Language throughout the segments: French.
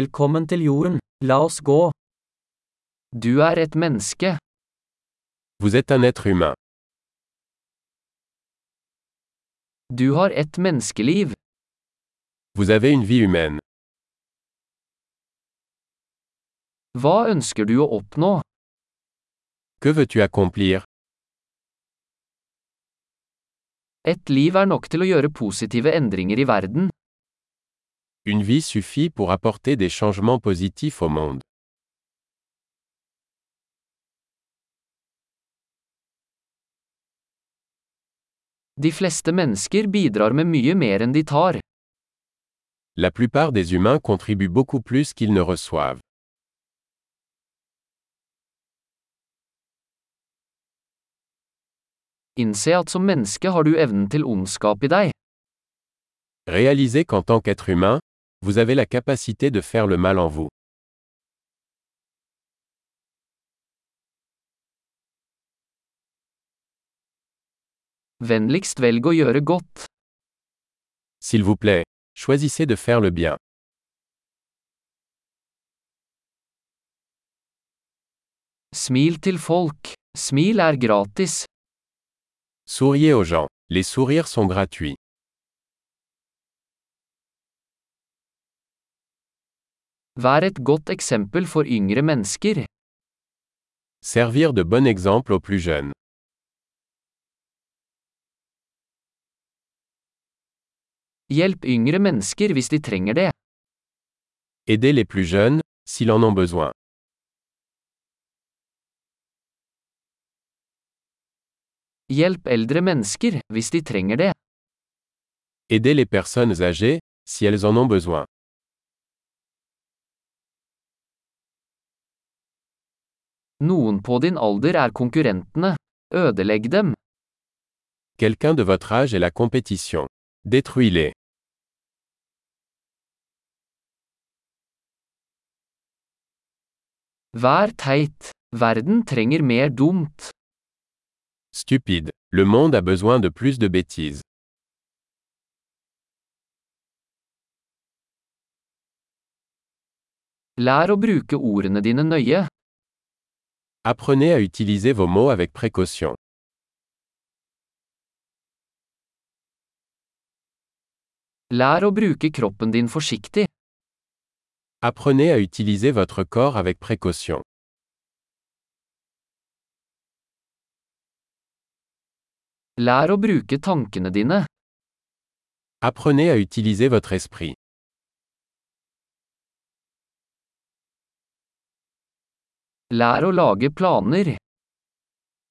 Velkommen til jorden, la oss gå. Du er et menneske, Vous êtes un être humain. du har et menneskeliv, Vous avez une vie humaine. hva ønsker du å oppnå? Que veux-tu accomplir Et liv er nok til å gjøre positive endringer i verden. Une vie suffit pour apporter des changements positifs au monde. De fleste mennesker bidrar med mye mer enn de tar. La plupart des humains contribuent beaucoup plus qu'ils ne reçoivent. Innse at som menneske har du evnen til ondskap i deg. Réalisez qu'en tant qu'être humain, vous avez la capacité de faire le mal en vous. Vennligst velg å gjøre godt. S'il vous plaît, choisissez de faire le bien. Smil til folk. Smil er gratis. Souriez aux gens. Les sourires sont gratuits. Vær et godt eksempel for yngre mennesker. Servir de bon exemple aux plus jeunes. Hjelp yngre mennesker hvis de trenger det. Aider les plus jeunes, s'ils en ont besoin. Hjelp eldre mennesker hvis de trenger det. Aider les personnes âgées, si elles en ont besoin. Noen på din alder er konkurrentene. Ødelegg dem. Quelqu'un de votre âge est la compétition. Détruis-les. Vær teit. Verden trenger mer dumt. Stupide. Le monde a besoin de plus de bêtises. Lær å bruke ordene dine nøye. Apprenez à utiliser vos mots avec précaution. Lær å bruke kroppen din forsiktig. Apprenez à utiliser votre corps avec précaution. Lær å bruke tankene dine. Apprenez à utiliser votre esprit. Lær å lage planer.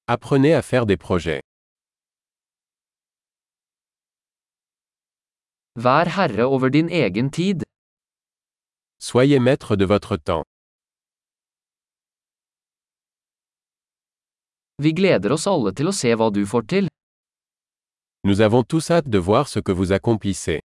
Apprenez à faire des projets. Vær herre over din egen tid. Soyez maître de votre temps. Vi gleder oss alle til å se hva du får til. Nous avons tous hâte de voir ce que vous accomplissez.